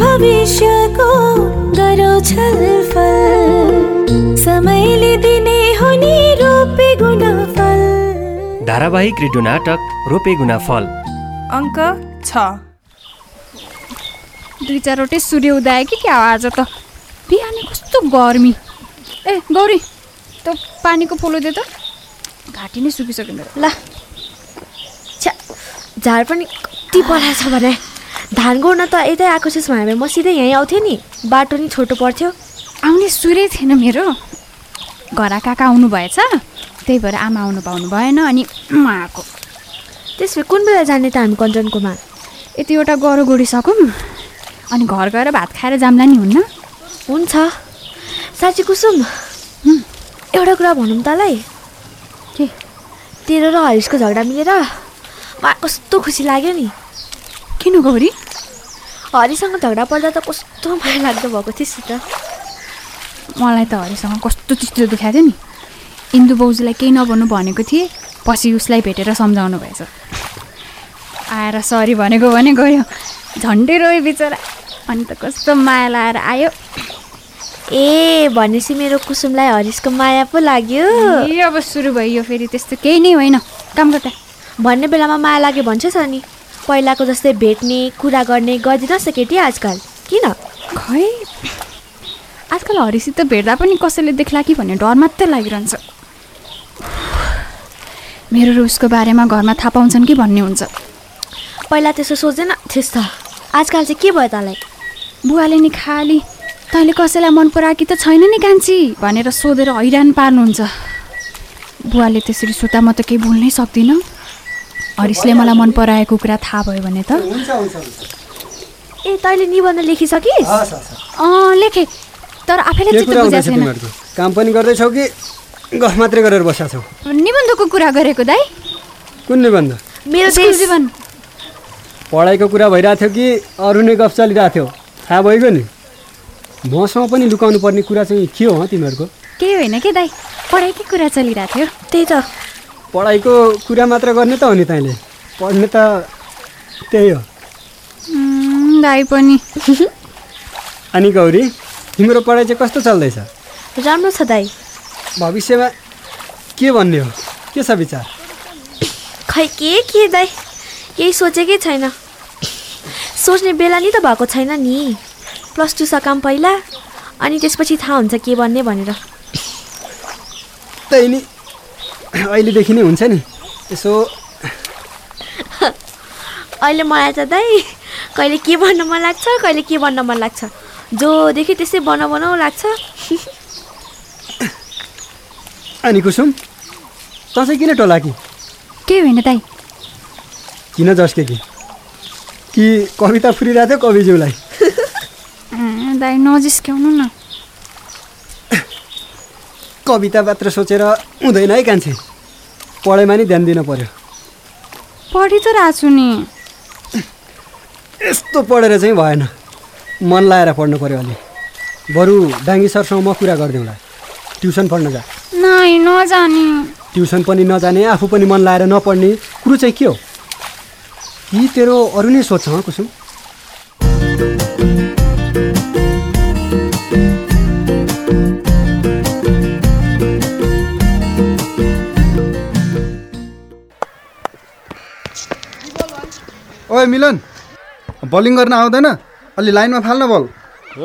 भविष्यको गरौ छलफल समयले दिने हुने रोपे गुणफल धारावाहिक रेडियो नाटक रोपे गुनाफल अङ्क छ दुई चारवटै सूर्योदय कि क्या हो आज त बिहानै कस्तो गर्मी ए गौरी त पानीको पोलो दे त घाँटी नै सुकिसक्यो मेरो ल छ्या झार पनि कति पठाएको छ भने धान गोड्न त यतै आएको छस् भने म सिधै यहीँ आउँथेँ नि बाटो नि छोटो पर्थ्यो आउने सूर्य थिएन मेरो घर काका आउनु भएछ त्यही भएर आमा आउनु पाउनु भएन अनि म आएको त्यसपछि कुन बेला जाने त हामी कञ्चनकोमा यति एउटा गरो गोडिसकौँ अनि घर गएर भात खाएर जाम्ला नि हुन्न हुन्छ साँच्ची कुसुम हुँ। एउटा कुरा भनौँ तँलाई के तेरो र हरिसको झगडा मिलेर मलाई कस्तो खुसी लाग्यो नि किन गौरी हरिसँग झगडा पर्दा त कस्तो माया लाग्दो भएको थिएँ त मलाई त हरिसँग कस्तो चित्रो दुखाएको थियो नि इन्दु बाउजूलाई केही नभन्नु भनेको थिएँ पछि उसलाई भेटेर सम्झाउनु भएछ आएर सरी भनेको भने गयो झन्डै रोयो बिचरा अनि त कस्तो माया लाएर आयो ए भनेपछि मेरो कुसुमलाई हरिसको माया पो लाग्यो ए अब सुरु भयो यो फेरि त्यस्तो केही नै होइन काम गर्दा भन्ने बेलामा माया लाग्यो भन्छस् अनि पहिलाको जस्तै भेट्ने कुरा गर्ने गरिदिनुहोस् त केटी आजकल किन खै आजकल हरिसित भेट्दा पनि कसैले देख्ला कि भन्ने डर मात्रै लागिरहन्छ मेरो र उसको बारेमा घरमा थाहा पाउँछन् कि भन्ने हुन्छ पहिला त्यसो सोचेन थिएस् त आजकल चाहिँ के भयो तँलाई बुवाले नि खाली तैँले कसैलाई मन पराएकी त छैन नि कान्छी भनेर सोधेर हैरान पार्नुहुन्छ बुवाले त्यसरी सोध्दा म त केही बोल्नै सक्दिनँ हरिसले मलाई मन पराएको कुरा थाहा भयो भने त ए तैँले निबन्ध लेखिसकिस् अँ लेखे तर आफैले के चित्त कुरा बुझाएको हुँदैछ छैन तिमीहरूको काम पनि गर्दैछौ कि गफ मात्रै गरेर बसेका छौ निबन्धको कुरा गरेको दाइ कुन निबन्ध मेरो स्कुल देश जीवन पढाइको कुरा भइरहेको थियो कि अरू नै गफ चलिरहेको थियो थाहा भइगयो नि मसँग पनि लुकाउनु पर्ने कुरा चाहिँ के हो हँ तिमीहरूको केही होइन के दाइ पढाइकै कुरा चलिरहेको थियो त्यही त पढाइको कुरा मात्र गर्ने त हो नि तैँले पढ्ने त त्यही हो उम्, दाइ पनि अनि गौरी तिम्रो पढाइ चाहिँ कस्तो चल्दैछ राम्रो छ दाइ भविष्यमा के भन्ने हो के छ विचार खै के के दाइ केही सोचेकै छैन सोच्ने बेला नि त भएको छैन नि प्लस टू सकाम पहिला अनि त्यसपछि थाहा हुन्छ के भन्ने भनेर त्यही नि अहिलेदेखि नै हुन्छ नि यसो अहिले मलाई त दाइ कहिले के भन्न मन लाग्छ कहिले के भन्न मन लाग्छ जोदेखि त्यस्तै बनाउ बनाउ लाग्छ अनि कुसुम तँ चाहिँ किन टोला कि केही होइन दाइ किन जस्के कि कि कविता फुरिरहेको थियो कविज्यूलाई उम्, दाइ नजिस्क्याउनु न कविता मात्र सोचेर हुँदैन है कान्छे पढाइमा नि ध्यान दिनु पर्यो पढि त रहेको छु नि यस्तो पढेर चाहिँ भएन मन लाएर पढ्नु पर्यो अलि बरु डाङ्गी सरसँग म कुरा गरिदिउँला ट्युसन पढ्न जा नाइ नजाने ट्युसन पनि नजाने आफू पनि मन लाएर नपढ्ने कुरो चाहिँ के हो यी तेरो अरू नै सोध्छ हँ कुसुम ओए मिलन बलिङ गर्न आउँदैन अलि लाइनमा फाल्न बल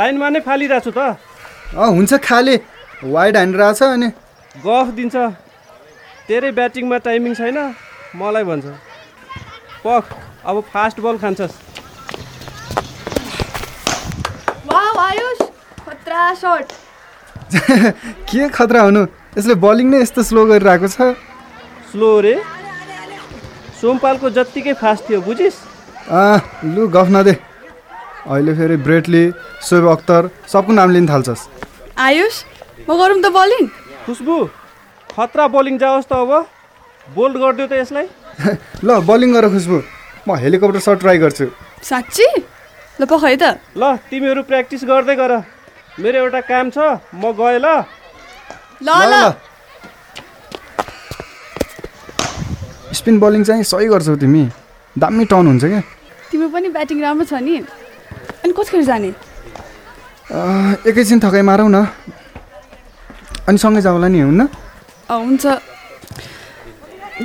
लाइनमा नै फालिरहेको छु त अँ हुन्छ खाले वाइड हानिरहेछ अनि गफ दिन्छ तेरै ब्याटिङमा टाइमिङ छैन मलाई भन्छ पख अब फास्ट बल खान्छस् के खतरा हुनु यसले बलिङ नै यस्तो स्लो गरिरहेको छ स्लो रे सोमपालको जत्तिकै फास्ट थियो बुझिस् अँ लु गफ नदे अहिले फेरि ब्रेटली सोएब अख्तर सबको नाम लिन थाल्छस् आयुष म गरौँ त बलिङ खुसबु खतरा बलिङ जाओस् त अब बोल्ड गरिदियो त यसलाई ल बलिङ गर खुसबु म हेलिकप्टर सर्ट ट्राई गर्छु साँच्ची ल पख है त ल तिमीहरू प्र्याक्टिस गर्दै गर मेरो एउटा काम छ म गएँ ल ल ल स्पिन बलिङ चाहिँ सही गर्छौ तिमी दामी टर्न हुन्छ क्या तिम्रो पनि ब्याटिङ राम्रो छ नि अनि कतिखेर जाने अँ, एकैछिन थकाइ मारौँ न अनि सँगै जाउँला नि हुन्न अँ, हुन्छ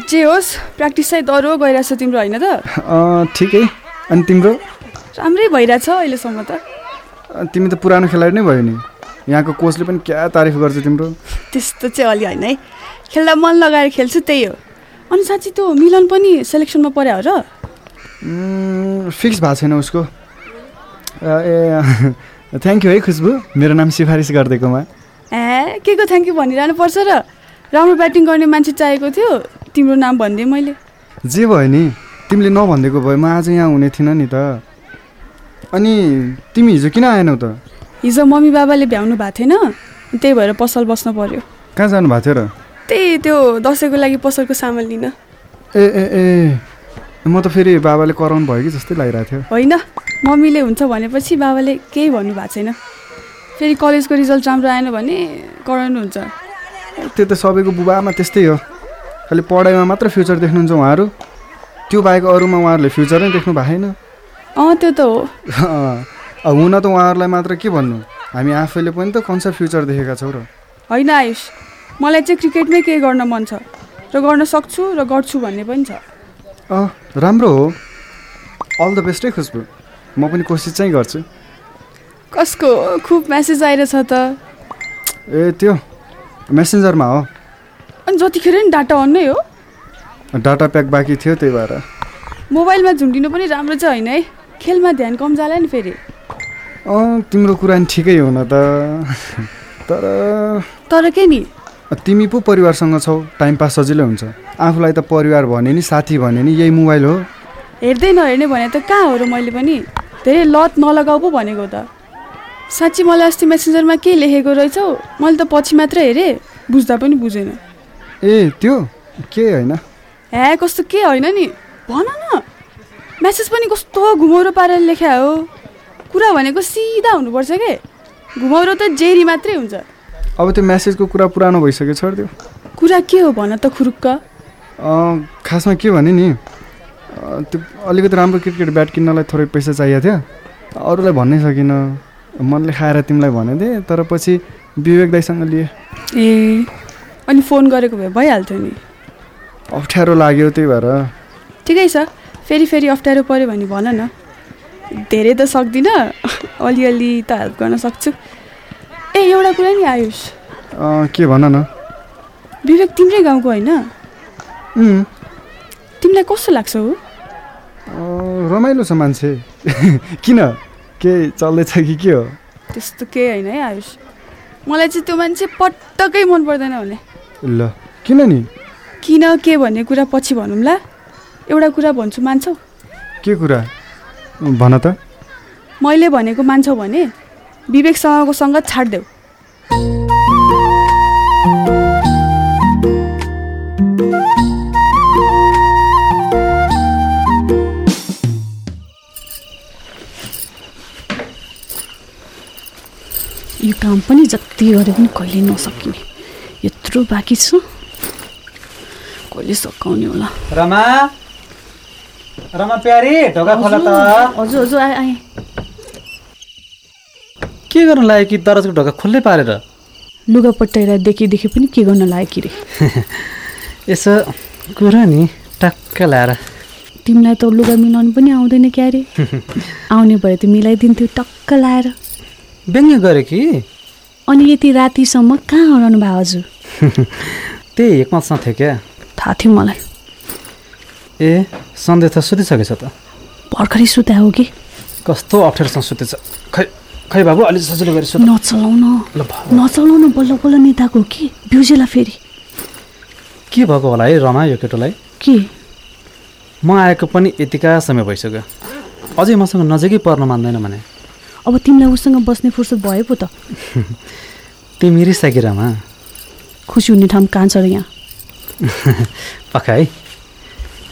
जे होस् प्र्याक्टिस चाहिँ दह्रो गइरहेछ तिम्रो होइन त अँ, ठिकै अनि तिम्रो राम्रै भइरहेछ अहिलेसम्म त अँ, तिमी त पुरानो खेलाडी नै भयो नि यहाँको कोचले पनि क्या तारिफ गर्छ तिम्रो त्यस्तो चाहिँ अलि होइन है खेल्दा मन लगाएर खेल्छु त्यही हो अनि साँच्ची त्यो मिलन पनि सेलेक्सनमा पर्यो हो र उम्, फिक्स भएको छैन उसको अँ, ए थ्याङ्क यू है खुसबु मेरो नाम सिफारिस गरिदिएकोमा ए के को थ्याङ्क यू भनिरहनु पर्छ र राम्रो ब्याटिङ गर्ने मान्छे चाहिएको थियो तिम्रो नाम भनिदिएँ मैले जे भयो नि तिमीले नभनिदिएको भए म आज यहाँ हुने थिइनँ नि त अनि तिमी हिजो किन आएनौ त हिजो मम्मी बाबाले भ्याउनु भएको थिएन त्यही भएर पसल बस्नु पर्यो कहाँ जानुभएको थियो र त्यही त्यो दसैँको लागि पसलको सामान लिन ए ए ए म त फेरि बाबाले कराउनु भयो कि जस्तै लागिरहेको थियो होइन मम्मीले हुन्छ भनेपछि बाबाले केही भन्नुभएको छैन फेरि कलेजको रिजल्ट राम्रो आएन भने कराउनुहुन्छ त्यो त सबैको बुबाआमा त्यस्तै हो खालि पढाइमा मात्र फ्युचर देख्नुहुन्छ उहाँहरू त्यो बाहेक अरूमा उहाँहरूले फ्युचर नै देख्नु भएन अँ त्यो त हो अँ, अब हुन त उहाँहरूलाई मात्र के भन्नु हामी आफैले पनि त कन्सेप्ट फ्युचर देखेका छौँ र होइन आयुष मलाई चाहिँ क्रिकेटमै केही गर्न मन छ र गर्न सक्छु र गर्छु भन्ने पनि छ अँ राम्रो हो अल द बेस्टै खुसबु म पनि कोसिस चाहिँ गर्छु कसको खुब म्यासेज आइरहेछ त ए त्यो मेसेन्जरमा हो अनि जतिखेर नि डाटा अन नै हो डाटा प्याक बाँकी थियो त्यही भएर मोबाइलमा झुन्डिनु पनि राम्रो चाहिँ होइन है खेलमा ध्यान कम जाला नि फेरि अँ तिम्रो कुरा नि ठिकै हो न त तर तर के नि तिमी पो परिवारसँग छौ टाइम पास सजिलो हुन्छ आफूलाई त परिवार भने नि साथी भने नि यही मोबाइल हो हेर्दै नहेर्ने भने त कहाँ हो र मैले पनि धेरै लत नलगाऊ पो भनेको त साँच्ची मलाई अस्ति मेसेन्जरमा के लेखेको रहेछौ मैले त पछि मात्र हेरेँ बुझ्दा पनि बुझेन ए त्यो के होइन ए कस्तो के होइन नि भन न म्यासेज पनि कस्तो घुमाउरो पारेर लेख्या हो कुरा भनेको सिधा हुनुपर्छ के घुमाउरो त जेरी मात्रै हुन्छ अब त्यो म्यासेजको कुरा पुरानो भइसक्यो छोडिदियो कुरा के हो भन त खुरुक्क अँ, खासमा के भने नि अँ, त्यो अलिकति राम्रो क्रिकेट ब्याट किन्नलाई थोरै पैसा चाहिएको थियो अरूलाई भन्नै सकिनँ मनले खाएर तिमीलाई भनेदिएँ तर पछि विवेक दाईसँग लिएँ ए अनि फोन गरेको भए भइहाल्थ्यो नि अप्ठ्यारो लाग्यो त्यही भएर ठिकै छ फेरि फेरि अप्ठ्यारो पऱ्यो भने भन न धेरै त सक्दिनँ अलिअलि त हेल्प गर्न सक्छु ए एउटा कुरा नि आयुष अँ, के भन न विवेक तिम्रै गाउँको होइन उम्, तिमीलाई कस्तो लाग्छ हो अँ, रमाइलो छ मान्छे किन के चल्दैछ कि के हो त्यस्तो केही होइन है आयुष मलाई चाहिँ त्यो मान्छे पटक्कै मन पर्दैन भने ल किन नि किन के भन्ने कुरा पछि भनौँला एउटा कुरा भन्छु मान्छौ के कुरा भन त मैले भनेको मान्छौ भने विवेकसँगको सङ्गत छाडिदेऊ यो काम पनि जति गरे पनि कहिले नसकिने यत्रो बाँकी छ कहिले सकाउने होला रमा रमा प्यारी ढोका खोला त हजुर हजुर आएँ आएँ के गर्नु लाग्यो कि दरजको ढोका खुल्लै पारेर लुगा पट्याएर देखेदेखि पनि के गर्न लाग्यो कि रे यसो कुरो नि टक्क लाएर तिमीलाई त लुगा मिलाउनु पनि आउँदैन क्यारे आउने भए त मिलाइदिन्थ्यो टक्क लाएर व्यङ्ग्य गऱ्यो कि अनि यति रातिसम्म कहाँ हराउनु भयो हजुर त्यही हेकमतसँग थियो क्या थाहा थियो मलाई ए सन्देश त सुतिसकेछ त भर्खरै सुता हो कि कस्तो अप्ठ्यारोसँग सुतेछ खै खै बाबु अलिक सजिलो गरेर सुत नचलाउन ल भयो। नचलाउन बल्ल बल्ल नेताको कि बिउजेला फेरि के भएको होला है रमा यो केटोलाई के म आएको पनि यतिका समय भइसक्यो अझै मसँग नजिकै पर्न मान्दैन भने अब तिमीलाई उसँग बस्ने फुर्सद भयो पो त तिमी रिसाकी रमा खुसी हुने ठाउँ कहाँ छ र यहाँ पक्का है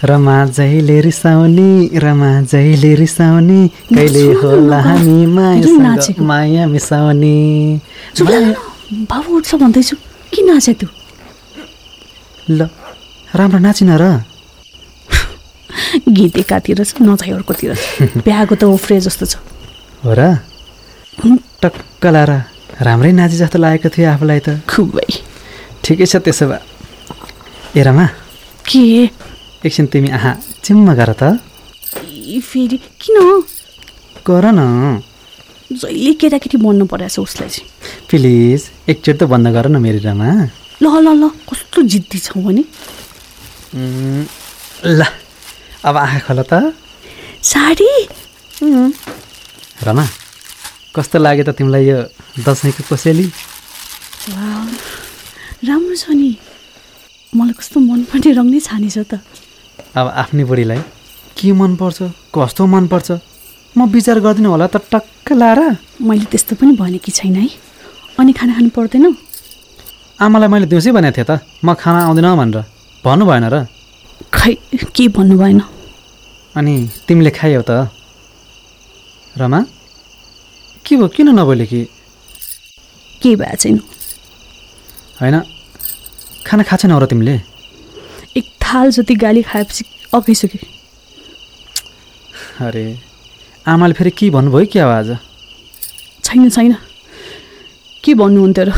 रमा जहिले रिसाउने रमा जहिले रिसाउने कहिले सुन न, होला बाबु। हामी किन मायासँग नाचेको? माया मिसाउने चुप लाग न। बाबु उठ्छ भन्दैछु किन नाचे तँ ल राम्रो नाचिन र गीत एकातिर छ नचाइ अर्कोतिर छ बिहाको त ओफ्रे जस्तो छ हो र हुँ, टक्क लाएर राम्रै नाची जस्तो लागेको थियो आफूलाई त खुबै ठिकै छ त्यसो भए ए रमा के एकछिन तिमी आहा चिम्म गर त ए, फेरि किन गर न जहिले केटाकेटी बन्नु परेको छ उसलाई चाहिँ प्लिज एकचोटि त बन्द गर न मेरी रमा ल ल ल कस्तो जिद्दी छौ भने उम्, ल अब आँखा खोल त साडी रमा कस्तो लाग्यो त तिमीलाई यो दसैँको कोसेली वाउ, राम्रो छ नि मलाई कस्तो मनपर्ने रङ नै छानेछ त अब आफ्नै बुढीलाई के मनपर्छ कस्तो मनपर्छ म विचार गरिदिनु होला त टक्क लाएर मैले त्यस्तो पनि भनेकी छैन है अनि खाना खानु पर्दैन आमालाई मैले दिउँसै भनेको थिएँ त म खाना आउँदिन भनेर भन्नु भएन र खै के भन्नु भएन अनि तिमीले खायौ त रमा के भयो किन नबोले कि केही भएको छैन होइन खाना खा छैनौ र तिमीले एक थाल जति गाली खाएपछि अघिसक्यो अरे आमाले फेरि के भन्नुभयो कि अब आज छैन छैन के भन्नुहुन्थ्यो र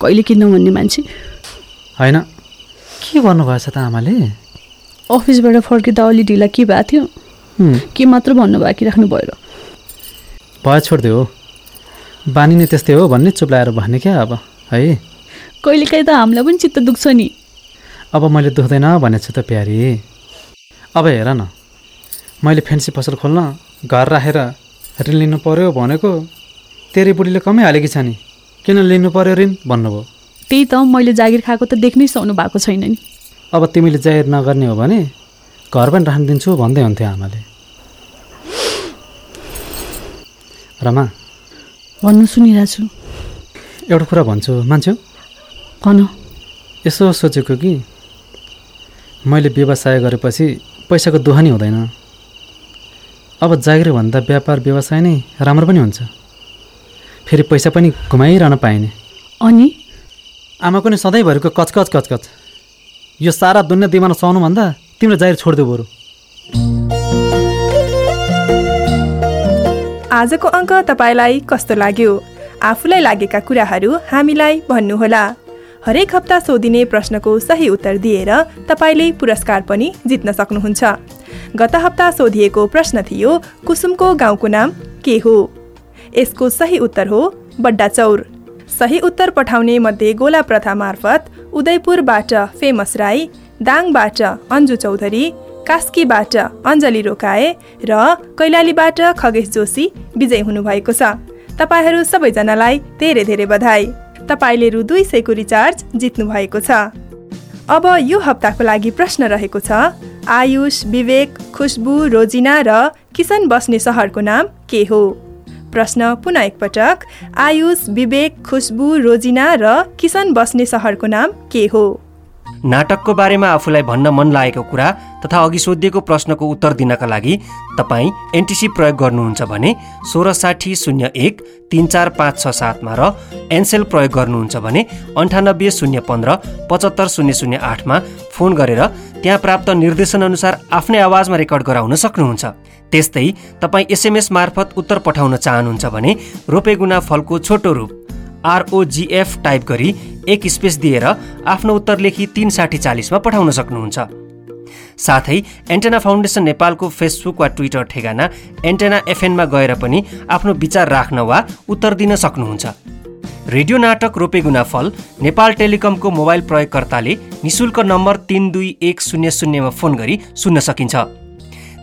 कहिले के नभन्ने मान्छे होइन के भन्नुभएछ त आमाले अफिसबाट फर्किँदा अलि ढिला के भएको थियो हुँ, के मात्र भन्नुभयो कि राख्नु भयो र भयो छोडिदियो हो बानी नै त्यस्तै हो भन्ने चुप लगाएर भन्ने क्या अब है कहिलेकाहीँ त हामीलाई पनि चित्त दुख्छ नि अब मैले दुख्दैन भनेको छु त प्यारी अब हेर न मैले फेन्सी पसल खोल्न घर राखेर ऋण लिनु पर्यो भनेको तेरी बुढीले कमै हालेकी छ नि किन लिनु पर्यो ऋण भन्नुभयो त्यही त मैले जागिर खाएको त देख्नै सक्नु भएको छैन नि अब तिमीले जाहेर नगर्ने हो भने घर पनि राखिदिन्छु भन्दै हुन्थ्यो आमाले रमा भन्नु सुनिरहेको छु एउटा कुरा भन्छु मान्छे भन यसो सोचेको कि मैले व्यवसाय गरेपछि पैसाको दुःख नै हुँदैन अब जागिरभन्दा व्यापार व्यवसाय नै राम्रो पनि हुन्छ फेरि पैसा पनि घुमाइरहन पाइने अनि आमाको नि सधैँभरिको कचकच कचकच यो सारा दुनियाँ दिमाग सुहाउनुभन्दा तिम्रो जागिर छोडिदेऊ बरु आजको अङ्क तपाईँलाई कस्तो लाग्यो आफूलाई लागेका कुराहरू हामीलाई भन्नुहोला हरेक हप्ता सोधिने प्रश्नको सही उत्तर दिएर तपाईँले पुरस्कार पनि जित्न सक्नुहुन्छ गत हप्ता सोधिएको प्रश्न थियो कुसुमको गाउँको नाम के हो यसको सही उत्तर हो बड्डाचौर सही उत्तर पठाउने मध्ये गोला प्रथा मार्फत उदयपुरबाट फेमस राई दाङबाट अन्जु चौधरी कास्कीबाट अञ्जली रोकाए र कैलालीबाट खगेश जोशी विजयी हुनुभएको छ तपाईँहरू सबैजनालाई धेरै धेरै बधाई तपाईँले रु दुई सयको रिचार्ज जित्नु भएको छ अब यो हप्ताको लागि प्रश्न रहेको छ आयुष विवेक खुसबु रोजिना र किसन बस्ने सहरको नाम के हो प्रश्न पुनः एकपटक आयुष विवेक खुसबु रोजिना र किसन बस्ने सहरको नाम के हो नाटकको बारेमा आफूलाई भन्न मन लागेको कुरा तथा अघि सोधिएको प्रश्नको उत्तर दिनका लागि तपाईँ एनटिसी प्रयोग गर्नुहुन्छ भने सोह्र साठी शून्य एक तिन चार पाँच छ सातमा र एनसेल प्रयोग गर्नुहुन्छ भने अन्ठानब्बे शून्य पन्ध्र पचहत्तर शून्य शून्य आठमा फोन गरेर त्यहाँ प्राप्त निर्देशनअनुसार आफ्नै आवाजमा रेकर्ड गराउन सक्नुहुन्छ त्यस्तै तपाईँ एसएमएस मार्फत उत्तर पठाउन चाहनुहुन्छ भने रोपेगुना फलको छोटो रूप आरओजिएफ टाइप गरी एक स्पेस दिएर आफ्नो उत्तर लेखी तिन साठी चालिसमा पठाउन सक्नुहुन्छ साथै एन्टेना फाउन्डेसन नेपालको फेसबुक वा ट्विटर ठेगाना एन्टेना एफएनमा गएर पनि आफ्नो विचार राख्न वा उत्तर दिन सक्नुहुन्छ रेडियो नाटक रोपेगुना फल नेपाल टेलिकमको मोबाइल प्रयोगकर्ताले निशुल्क नम्बर तिन दुई एक शून्य शून्यमा फोन गरी सुन्न सकिन्छ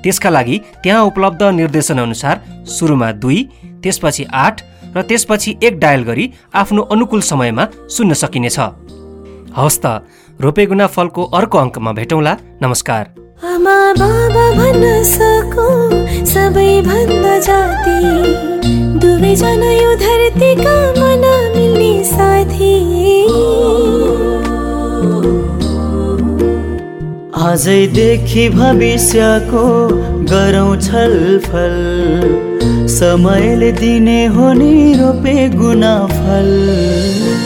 त्यसका लागि त्यहाँ उपलब्ध निर्देशनअनुसार सुरुमा दुई त्यसपछि आठ र त्यसपछि एक डायल गरी आफ्नो अनुकूल समयमा सुन्न सकिनेछ हवस् त रोपेगुना फलको अर्को अङ्कमा भेटौँला नमस्कार आमा बाबा भन्न सकौँ सबैभन्दा जाति दुवैजना यो धरतीका मन मिल्ने साथी आजैदेखि भविष्यको गरौँ छलफल समयले दिने हो नि रोपे गुना फल